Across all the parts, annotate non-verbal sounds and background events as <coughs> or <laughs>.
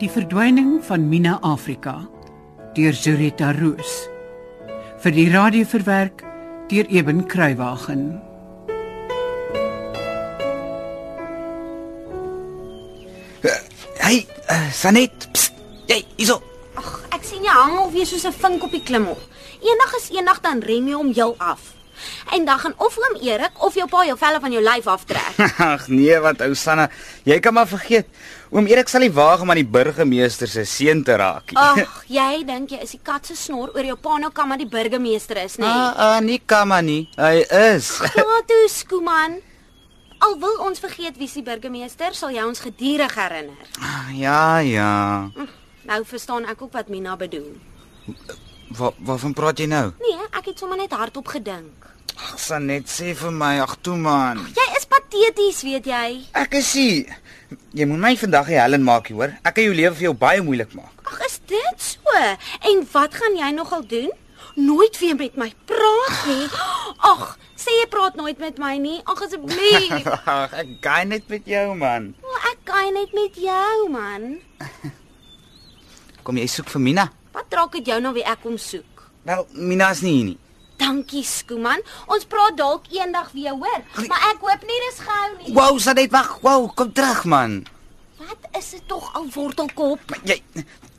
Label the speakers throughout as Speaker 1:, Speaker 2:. Speaker 1: Die verdwyning van Mina Afrika deur Zurita Roos vir die radio verwerk deur Eben Kruiwagen.
Speaker 2: Hey, uh, Sanet. Pst, jy, hierso. <laughs>
Speaker 3: Ag, ek sien jy hang al weer soos 'n vink op die klimop. Eendag is eendag dan rem jy hom heel af. En dan gaan of oom Erik of jou pa jou velle van jou lyf aftrek.
Speaker 2: Ag nee, wat ou Sanna, jy kan maar vergeet. Oom Erik sal nie waag om aan die burgemeester se seun te raak nie.
Speaker 3: Ag, jy dink jy is die kat se snor oor jou pa nou kan maar die burgemeester is, nê? Nee.
Speaker 2: ah, nie kan maar nie. Hy is. <laughs>
Speaker 3: Gato Skooman. Al wil ons vergeet wie se burgemeester, sal jy ons gedurig herinner.
Speaker 2: Ja, ja.
Speaker 3: Hm, Nou verstaan ek ook wat Mina bedoel.
Speaker 2: Wa waarvan praat jy nou?
Speaker 3: Nee, ek het sommer net hardop gedink.
Speaker 2: Ag Sanet, sê vir my, ag toe man.
Speaker 3: Jy is pateties, weet jy?
Speaker 2: Ek is hier. Jy moet my vandag die Helen maak, jy hoor. Ek kan jou lewe vir jou baie moeilik
Speaker 3: <laughs>
Speaker 2: maak.
Speaker 3: Ag, is dit so? En wat gaan jy nogal doen? Nooit weer met my praat nie. <gasps> Ag, sê jy praat nooit met my nie. Ag
Speaker 2: <laughs>
Speaker 3: asseblief.
Speaker 2: Ag, ek gaan net met jou man.
Speaker 3: Wel, ek kan net met jou, man.
Speaker 2: Kom jy soek vir Mina?
Speaker 3: Wat trok dit jou nou wie ek kom soek?
Speaker 2: Wel, Mina is nie hier nie.
Speaker 3: Dankie, Skooman. Ons praat dalk eendag weer, hoor. Maar ek hoop nie dis gehou nie.
Speaker 2: Wow, Sanet, wag. Wow, kom terug man.
Speaker 3: Wat is dit tog al wortelkop?
Speaker 2: Maar jy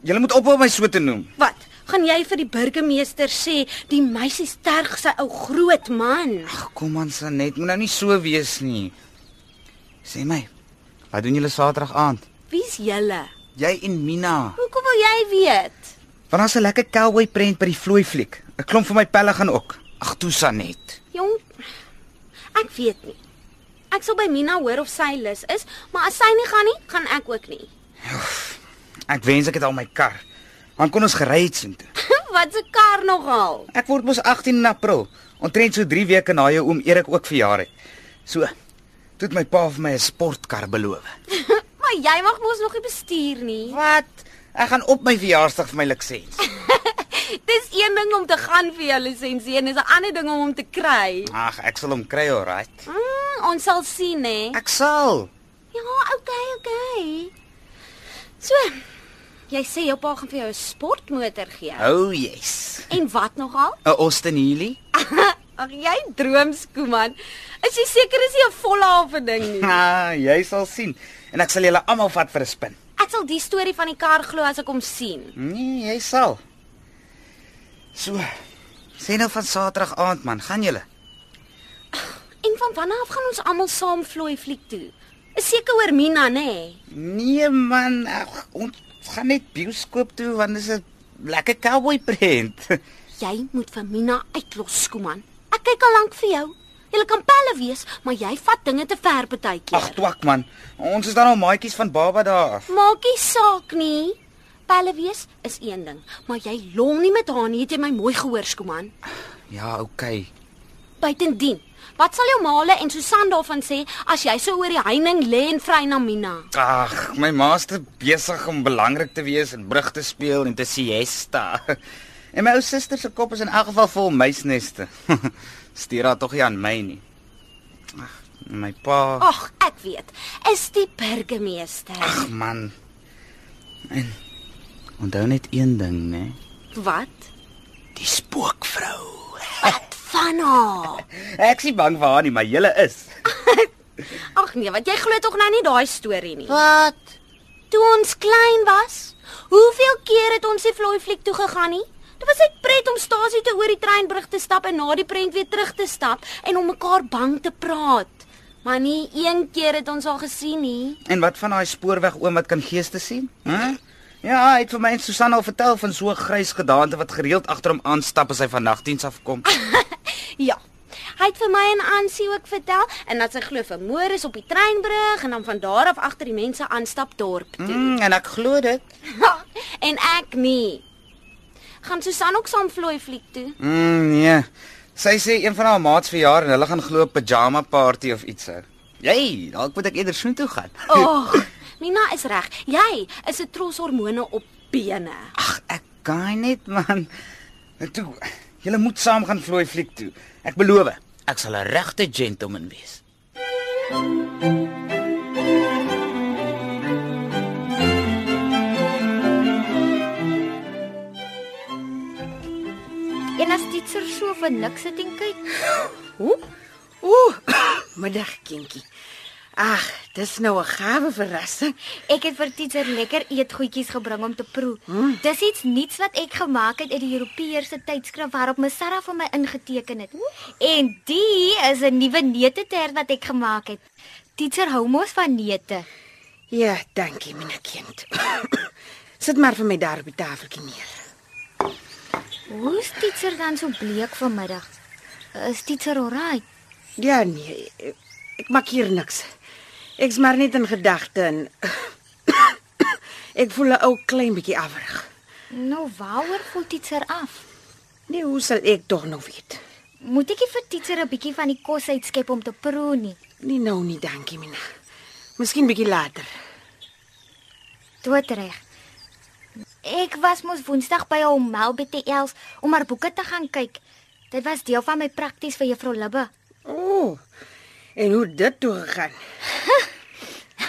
Speaker 2: jy moet ophou my so te noem.
Speaker 3: Wat? Gaan jy vir die burgemeester sê die meisie sterg sy ou groot man?
Speaker 2: Ag, kom aan Sanet, moet nou nie so wees nie. Sê my, wat doen julle Saterdag aand?
Speaker 3: Wie's julle?
Speaker 2: Jy en Mina.
Speaker 3: Hoekom wil jy weet?
Speaker 2: Want daar's 'n lekker cowboy prent by die vloei fliek. 'n Klomp van my pelle gaan ook. Ag, toe Sanet.
Speaker 3: Jong, ek weet nie. Ek sal by Mina hoor of sy lus is, maar as sy nie gaan nie, gaan ek ook nie. <laughs>
Speaker 2: Ek wens ek het al my kar. Dan kon ons gery het soontoe.
Speaker 3: Wat 'n kar nogal.
Speaker 2: Ek word mos 18 in April, omtrent so 3 weke na jou oom Erik ook verjaar het. So, toe het my pa vir my 'n sportkar beloof.
Speaker 3: maar jy mag mos nog nie bestuur nie.
Speaker 2: Wat? Ek gaan op my verjaarsdag vir my lisens.
Speaker 3: Dis een ding om te gaan vir jou lisensie en dis 'n ander ding om hom te kry.
Speaker 2: Ag, ek sal hom kry, alright.
Speaker 3: Mm, ons sal sien, hè.
Speaker 2: Ek sal.
Speaker 3: Ja, okay, okay. So, jy sê jou pa gaan vir jou 'n sportmotor gee.
Speaker 2: Oh, yes.
Speaker 3: En wat nogal?
Speaker 2: 'n Austin Healy?
Speaker 3: Ag jy droom skooman. Is jy seker dis nie 'n volhawe ding nie?
Speaker 2: Ah, jy sal sien. En ek sal julle almal vat vir 'n spin.
Speaker 3: Ek sal die storie van die kar glo as ek hom sien.
Speaker 2: Nee, jy sal. So. Sê nou van Saterdag aand man, gaan julle?
Speaker 3: En van wanneer af gaan ons almal saam vloei fliek toe? Is seker oor Mina, nê? Nee?
Speaker 2: Nee man, ag, ons gaan net bioskoop toe want dit is 'n lekker cowboy prent. <laughs>
Speaker 3: Jy moet vir Mina uitlos skooman. Ek kyk al lank vir jou. Jy kan pelle wees, maar jy vat dinge te ver
Speaker 2: Ag,
Speaker 3: partykeer.
Speaker 2: twak man. Ons is dan al maatjies van Baba daar. af.
Speaker 3: Maak nie saak nie. Pelle wees is een ding, maar jy lol nie met haar nie, het jy my mooi gehoor, skooman.
Speaker 2: Ja, okay.
Speaker 3: Buitendien, wat sal jou maale en Susan daarvan sê as jy so oor die heining lê en vry na Mina?
Speaker 2: Ag, my maaste besig om belangrik te wees en brug te speel en te siesta. <laughs> En my ou suster se kop is in elk geval vol muisneste. <laughs> Stuur haar tog nie aan my nie. Ag, my pa.
Speaker 3: Ag, ek weet. Is die burgemeester.
Speaker 2: Ag man. En onthou net een ding, né?
Speaker 3: Wat?
Speaker 2: Die spookvrou.
Speaker 3: Wat van haar?
Speaker 2: Ek is nie bang vir haar nie, maar julle is.
Speaker 3: Ag nee, want jy glo tog nou nie daai storie nie.
Speaker 2: Wat?
Speaker 3: Toe ons klein was, hoeveel keer het ons se vloei fliek toe gegaan nie? Dit was net pret om stasie toe oor die treinbrug te stap en na die prent weer terug te stap en om mekaar bang te praat. Maar nie een keer het ons haar gesien nie.
Speaker 2: En wat van daai spoorweg oom wat kan geeste sien? Hæ? Ja, hy het vir my en Susan al vertel van so 'n grys gedaante wat gereeld agter hom aanstap as hy van nagdiens afkom.
Speaker 3: Ja. Hy het vir my en Ansie ook vertel en dat sy glo vermoor is op die treinbrug en dan van daar af agter die mense aanstap dorp toe.
Speaker 2: Mm, en ek glo dit.
Speaker 3: <laughs> en ek nie. Gaan Susan ook saam vloei fliek toe?
Speaker 2: Mm, nee. Sy sê een van haar maats verjaar en hulle gaan glo 'n pyjama party of iets. hè. Jy, dalk moet ek eerder soontoe gaan.
Speaker 3: Ag, Mina is reg. Jy is 'n tros hormone op bene.
Speaker 2: Ag, ek kan net man. Nou Toe, julle moet saam gaan vloei fliek toe. Ek beloof, ek sal 'n regte gentleman wees.
Speaker 4: En as teacher so vir niks sit en kyk,
Speaker 5: Ooh, middag kindjie. Ag, dis nou 'n gawe verrassing.
Speaker 4: ek het vir teacher lekker eetgoedjies gebring om te proe. Hmm. Dis iets nuuts wat ek gemaak het uit die Europese tydskrif waarop my Sarah vir my ingeteken het. En die is 'n nuwe neutetert wat ek gemaak het. Teacher hou mos van neute.
Speaker 5: Ja, dankie my kind. <coughs> Sit maar vir my daar op die tafeltjie neer.
Speaker 4: Hoe's teacher dan so bleek vanmiddag? Is teacher alright?
Speaker 5: Ja nee, ek maak hier niks. Ek's maar net in gedagte en <coughs> ek voel 'n ou klein bietjie afrig.
Speaker 4: Nou waaroor voel teacher af?
Speaker 5: Nee, hoe sal ek tog nou weet?
Speaker 4: Moet ek nie vir teacher 'n bietjie van die kos uitskep om te proe nie?
Speaker 5: Nee nou nie, dankie Mina. Miskien bietjie later.
Speaker 4: Dood reg. Ek was mos Woensdag by hom Melbete Els om haar boeke te gaan kyk. Dit was deel van my prakties vir Juffrou Libbe. <laughs>
Speaker 5: O. Oh, en hoe dit toe gegaan?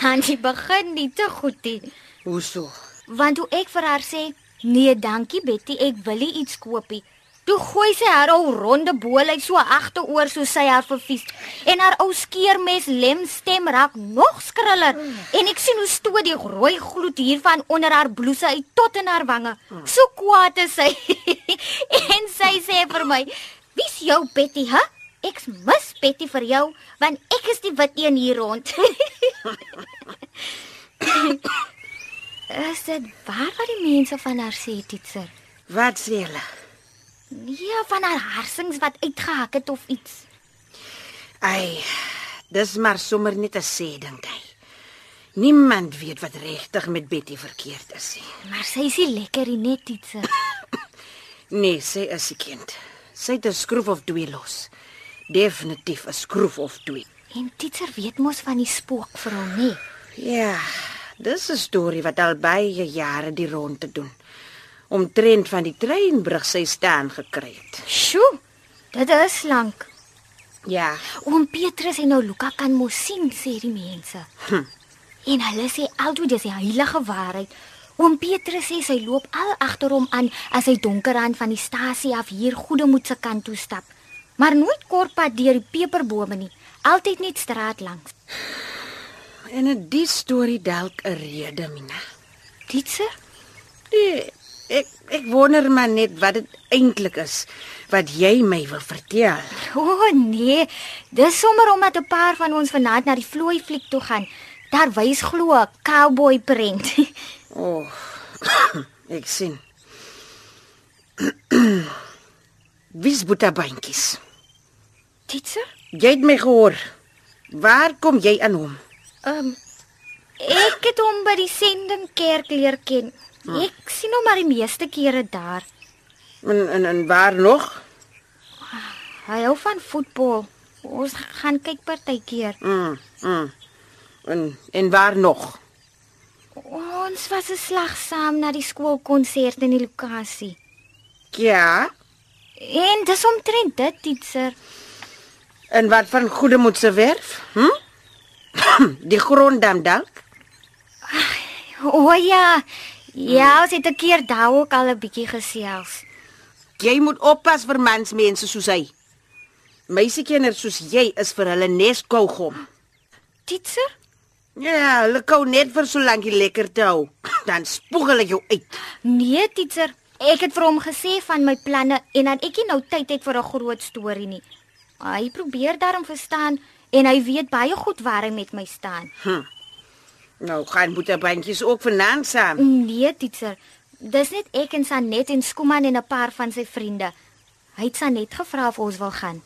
Speaker 4: Aan die begin nie te goed nie,
Speaker 5: Hoe so?
Speaker 4: want toe ek vir haar sê, "Nee, dankie Betty, ek wil nie iets koop nie." Toe gooi sy haar ou ronde bool uit so agteroor so sy haar vervies en haar ou skeermes lem stem raak nog skriller en ek sien hoe stoot die rooi gloed hiervan onder haar blouse uit tot in haar wange. So kwaad is sy. <laughs> en sy sê vir my, "Wie's jou Betty, hè? Ek's mis Betty vir jou want ek is die wit een hier rond." <laughs> Is dit waar wat die mense van haar sê, teacher?
Speaker 5: Wat sê hulle?
Speaker 4: Nee, van haar harsings wat uitgehak het of iets.
Speaker 5: Ai, dis maar sommer net 'n sê dink hy. Niemand weet wat regtig met Betty verkeerd is nie.
Speaker 4: Maar sy is nie lekker nie, net ietsie.
Speaker 5: Nee, sy is 'n kind. Sy het 'n skroef of twee los. Definitief 'n skroef of twee.
Speaker 4: En teacher weet mos van die spookvrou, nê?
Speaker 5: Ja, dis 'n storie wat al baie jare die ronde doen. Omtrent van die treinbrug sy staan gekry het.
Speaker 4: Sjoe. Dit is lank.
Speaker 5: Ja,
Speaker 4: Oom Petrus en nou Luka kan mos sien, sê die mense. Hm. En hulle sê altyd dis die heilige waarheid. Oom Petrus sê sy loop al agter hom aan as hy donker aan van die stasie af hier Goedemoed se kant toe stap. Maar nooit kortpad deur die peperbome nie, altyd net straat langs.
Speaker 5: en in die storie dalk 'n rede, Mina.
Speaker 4: Ditser?
Speaker 5: Nee, ek ek wonder maar net wat dit eintlik is wat jy my wil vertel.
Speaker 4: O oh, nee, dis sommer omdat 'n paar van ons vanaand na die vloei fliek toe gaan. Daar wys glo 'n cowboy prent. <laughs>
Speaker 5: O. Oh, <coughs> ek sien. <clears throat> Wie's Boetabantjies?
Speaker 4: Ditser?
Speaker 5: Jy het my gehoor. Waar kom jy aan hom?
Speaker 4: Ehm um, ek het hom by die Sending Kerk leer ken. Ek sien hom maar die meeste kere daar.
Speaker 5: En en, en waar nog?
Speaker 4: Hy hou van voetbal. Ons gaan kyk partykeer.
Speaker 5: Mm, mm. En en waar nog?
Speaker 4: Ons was 'n slag saam na die skoolkonsert in die lokasie.
Speaker 5: Ja.
Speaker 4: En dis omtrent dit, teacher.
Speaker 5: En wat van Goedemoed se werf? Hm? <coughs> Die gronddam dalk?
Speaker 4: O ja. Ja, ons het 'n keer daar ook al 'n bietjie gesels.
Speaker 5: Jy moet oppas vir mansmense soos hy. Meisiekinders soos jy is vir hulle nes kougom.
Speaker 4: Teacher?
Speaker 5: Ja, hulle kou net vir so lank jy lekker te hou. <coughs> Dan spoeg hulle jou uit.
Speaker 4: Nee, teacher. Ek het vir hom gesê van my planne en dat ek nie nou tyd het vir 'n groot storie nie. Hy probeer daarom verstaan en hy weet baie goed waar hy met my staan.
Speaker 5: Nou gaan boeterbandjies ook vanaand saam.
Speaker 4: Nee, teacher. Dis net ek en Sanet en Skuman en 'n paar van sy vriende. Hy het Sanet gevra of ons wil gaan.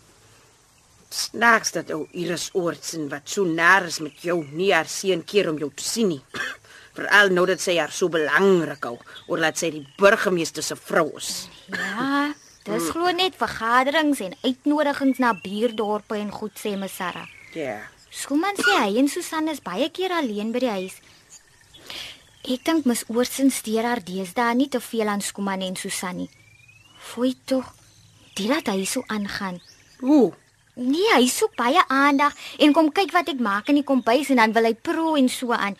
Speaker 5: Snaaks dat ou Iris Oortsen wat so nar is met jou nie haar seun keer om jou te sien nie. <clears throat> Veral nou dat sy haar so belangrik hou oor laat sy die burgemeester se vrou is.
Speaker 4: Ja, dis glo net vergaderings en uitnodigings na buurdorpe en goed sê my Sarah.
Speaker 5: Ja.
Speaker 4: Skuman sê hy en Susan is baie keer alleen by die huis. Ek dink mis Oortsen steur haar deesdae nie te veel aan Skuman en Susan nie. Fooi tog. Dit laat hy so aangaan.
Speaker 5: Ooh,
Speaker 4: Nee, hy soek baie aandag en kom kyk wat ek maak in die kombuis en dan wil hy proe en so aan.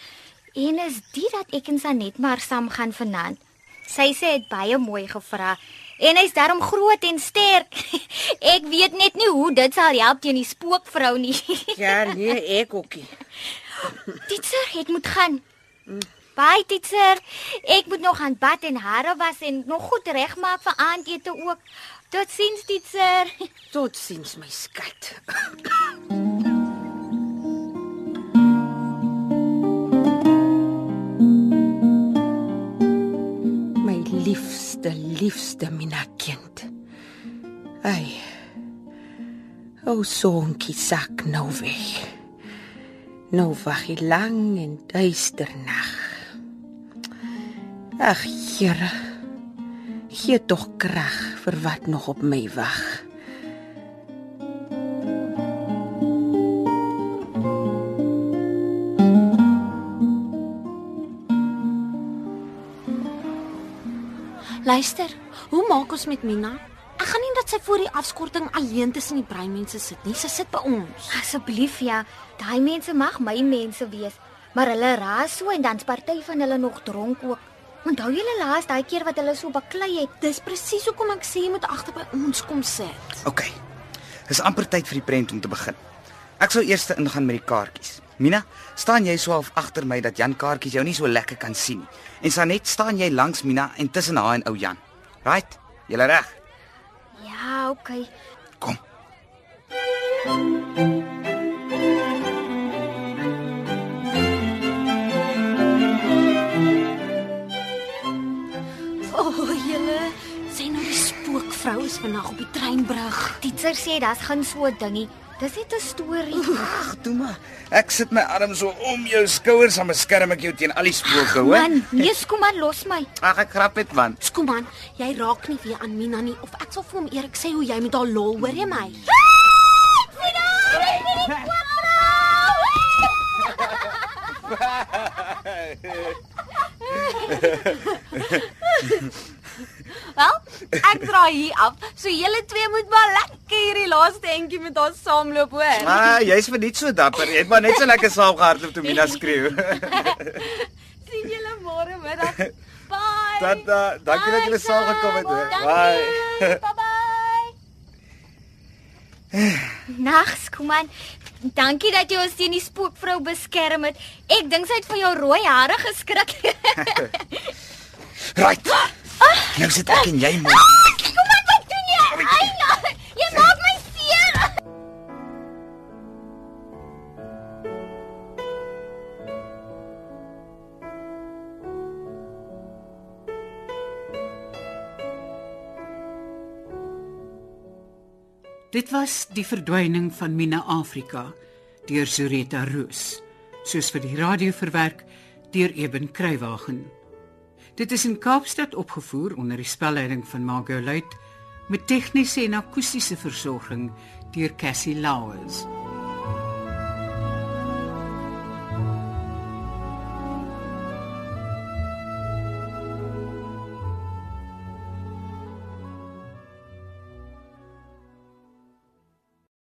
Speaker 4: En is dit dat ek en Sanet maar saam gaan vanaand. Sy sê hy het baie mooi gevra en hy's daarom groot en sterk. <laughs> ek weet net nie hoe dit sal help teen die spookvrou nie. <laughs>
Speaker 5: Ja, nee, ek ookie.
Speaker 4: Titser, ek moet gaan. Bye Titser. Ek moet nog aan bad en hare was en nog goed regmaak vir aandete ook. Totsiens Titser.
Speaker 5: Totsiens my skat. <coughs> my liefste, liefste Mina kind. Ai. O sonkie sak nou weg. Nou wag hy lang en duister nag. Ag Here. Gee tog krag vir wat nog op my wag.
Speaker 3: Luister, hoe maak ons met Mina? Ek gaan nie dat sy voor die afskorting alleen tussen die breinmense sit nie. Sy sit by ons.
Speaker 4: <laughs> Asseblief ja, daai mense mag my mense wees, maar hulle raas so en dan's party van hulle nog dronk ook. Onthou julle laas daai keer wat hulle so baklei het?
Speaker 3: Dis presies hoekom ek sê jy moet agter by ons kom sit.
Speaker 2: OK. Dis amper tyd vir die prent om te begin. Ek sou eers ingaan met die kaartjies. Mina, staan jy so half agter my dat Jan kaartjies jou nie so lekker kan sien nie. En Sanet, staan jy langs Mina en tussen haar en ou Jan. Right? Julle reg.
Speaker 4: Ja, okay.
Speaker 2: Kom.
Speaker 3: O, oh, julle, sê nou die spookvrou is vandag op die treinbrug.
Speaker 4: Titser sê daar's geen so 'n dingie. Dis net 'n storie.
Speaker 2: Ag, toe maar. Ek sit my arm so om jou skouers en beskerm ek jou teen al die spooke, hoor?
Speaker 4: Man, Jesus kom aan los my.
Speaker 2: Ag, ek grap net man.
Speaker 3: Skuman, jy raak nie weer aan Mina nie of ek sal vir hom eerlik sê hoe jy met haar lol, hoor jy my?
Speaker 6: Wel, ek draai hier af. So julle twee moet maar lekker hierdie laaste entjie met haar saamloop hoor.
Speaker 2: Ah, jy's verniet so dapper. Jy het maar net so lekker saam gehardloop toe Mina skreeu.
Speaker 6: Sien julle môre
Speaker 2: <laughs>
Speaker 6: middag. Bye.
Speaker 2: Tata, dankie dat julle saam gekom het. hoor. Bye.
Speaker 6: Bye bye.
Speaker 4: <sighs> Nags kom aan. Dankie dat jy ons teen die spookvrou beskerm het. Ek dink sy het van jou rooi hare geskrik. <laughs>
Speaker 2: Right. Nou sit ek en jy moet.
Speaker 4: kom aan, wat doen jy? Ai, nou, jy maak my seer.
Speaker 1: Dit was die verdwyning van Mina Afrika deur Zureta Roos, soos vir die radio verwerk deur Eben Kruiwagen. Dit is in Kaapstad opgevoer onder die spelleiding van Margot Luit met tegniese en akoestiese versorging deur Cassie Lauers.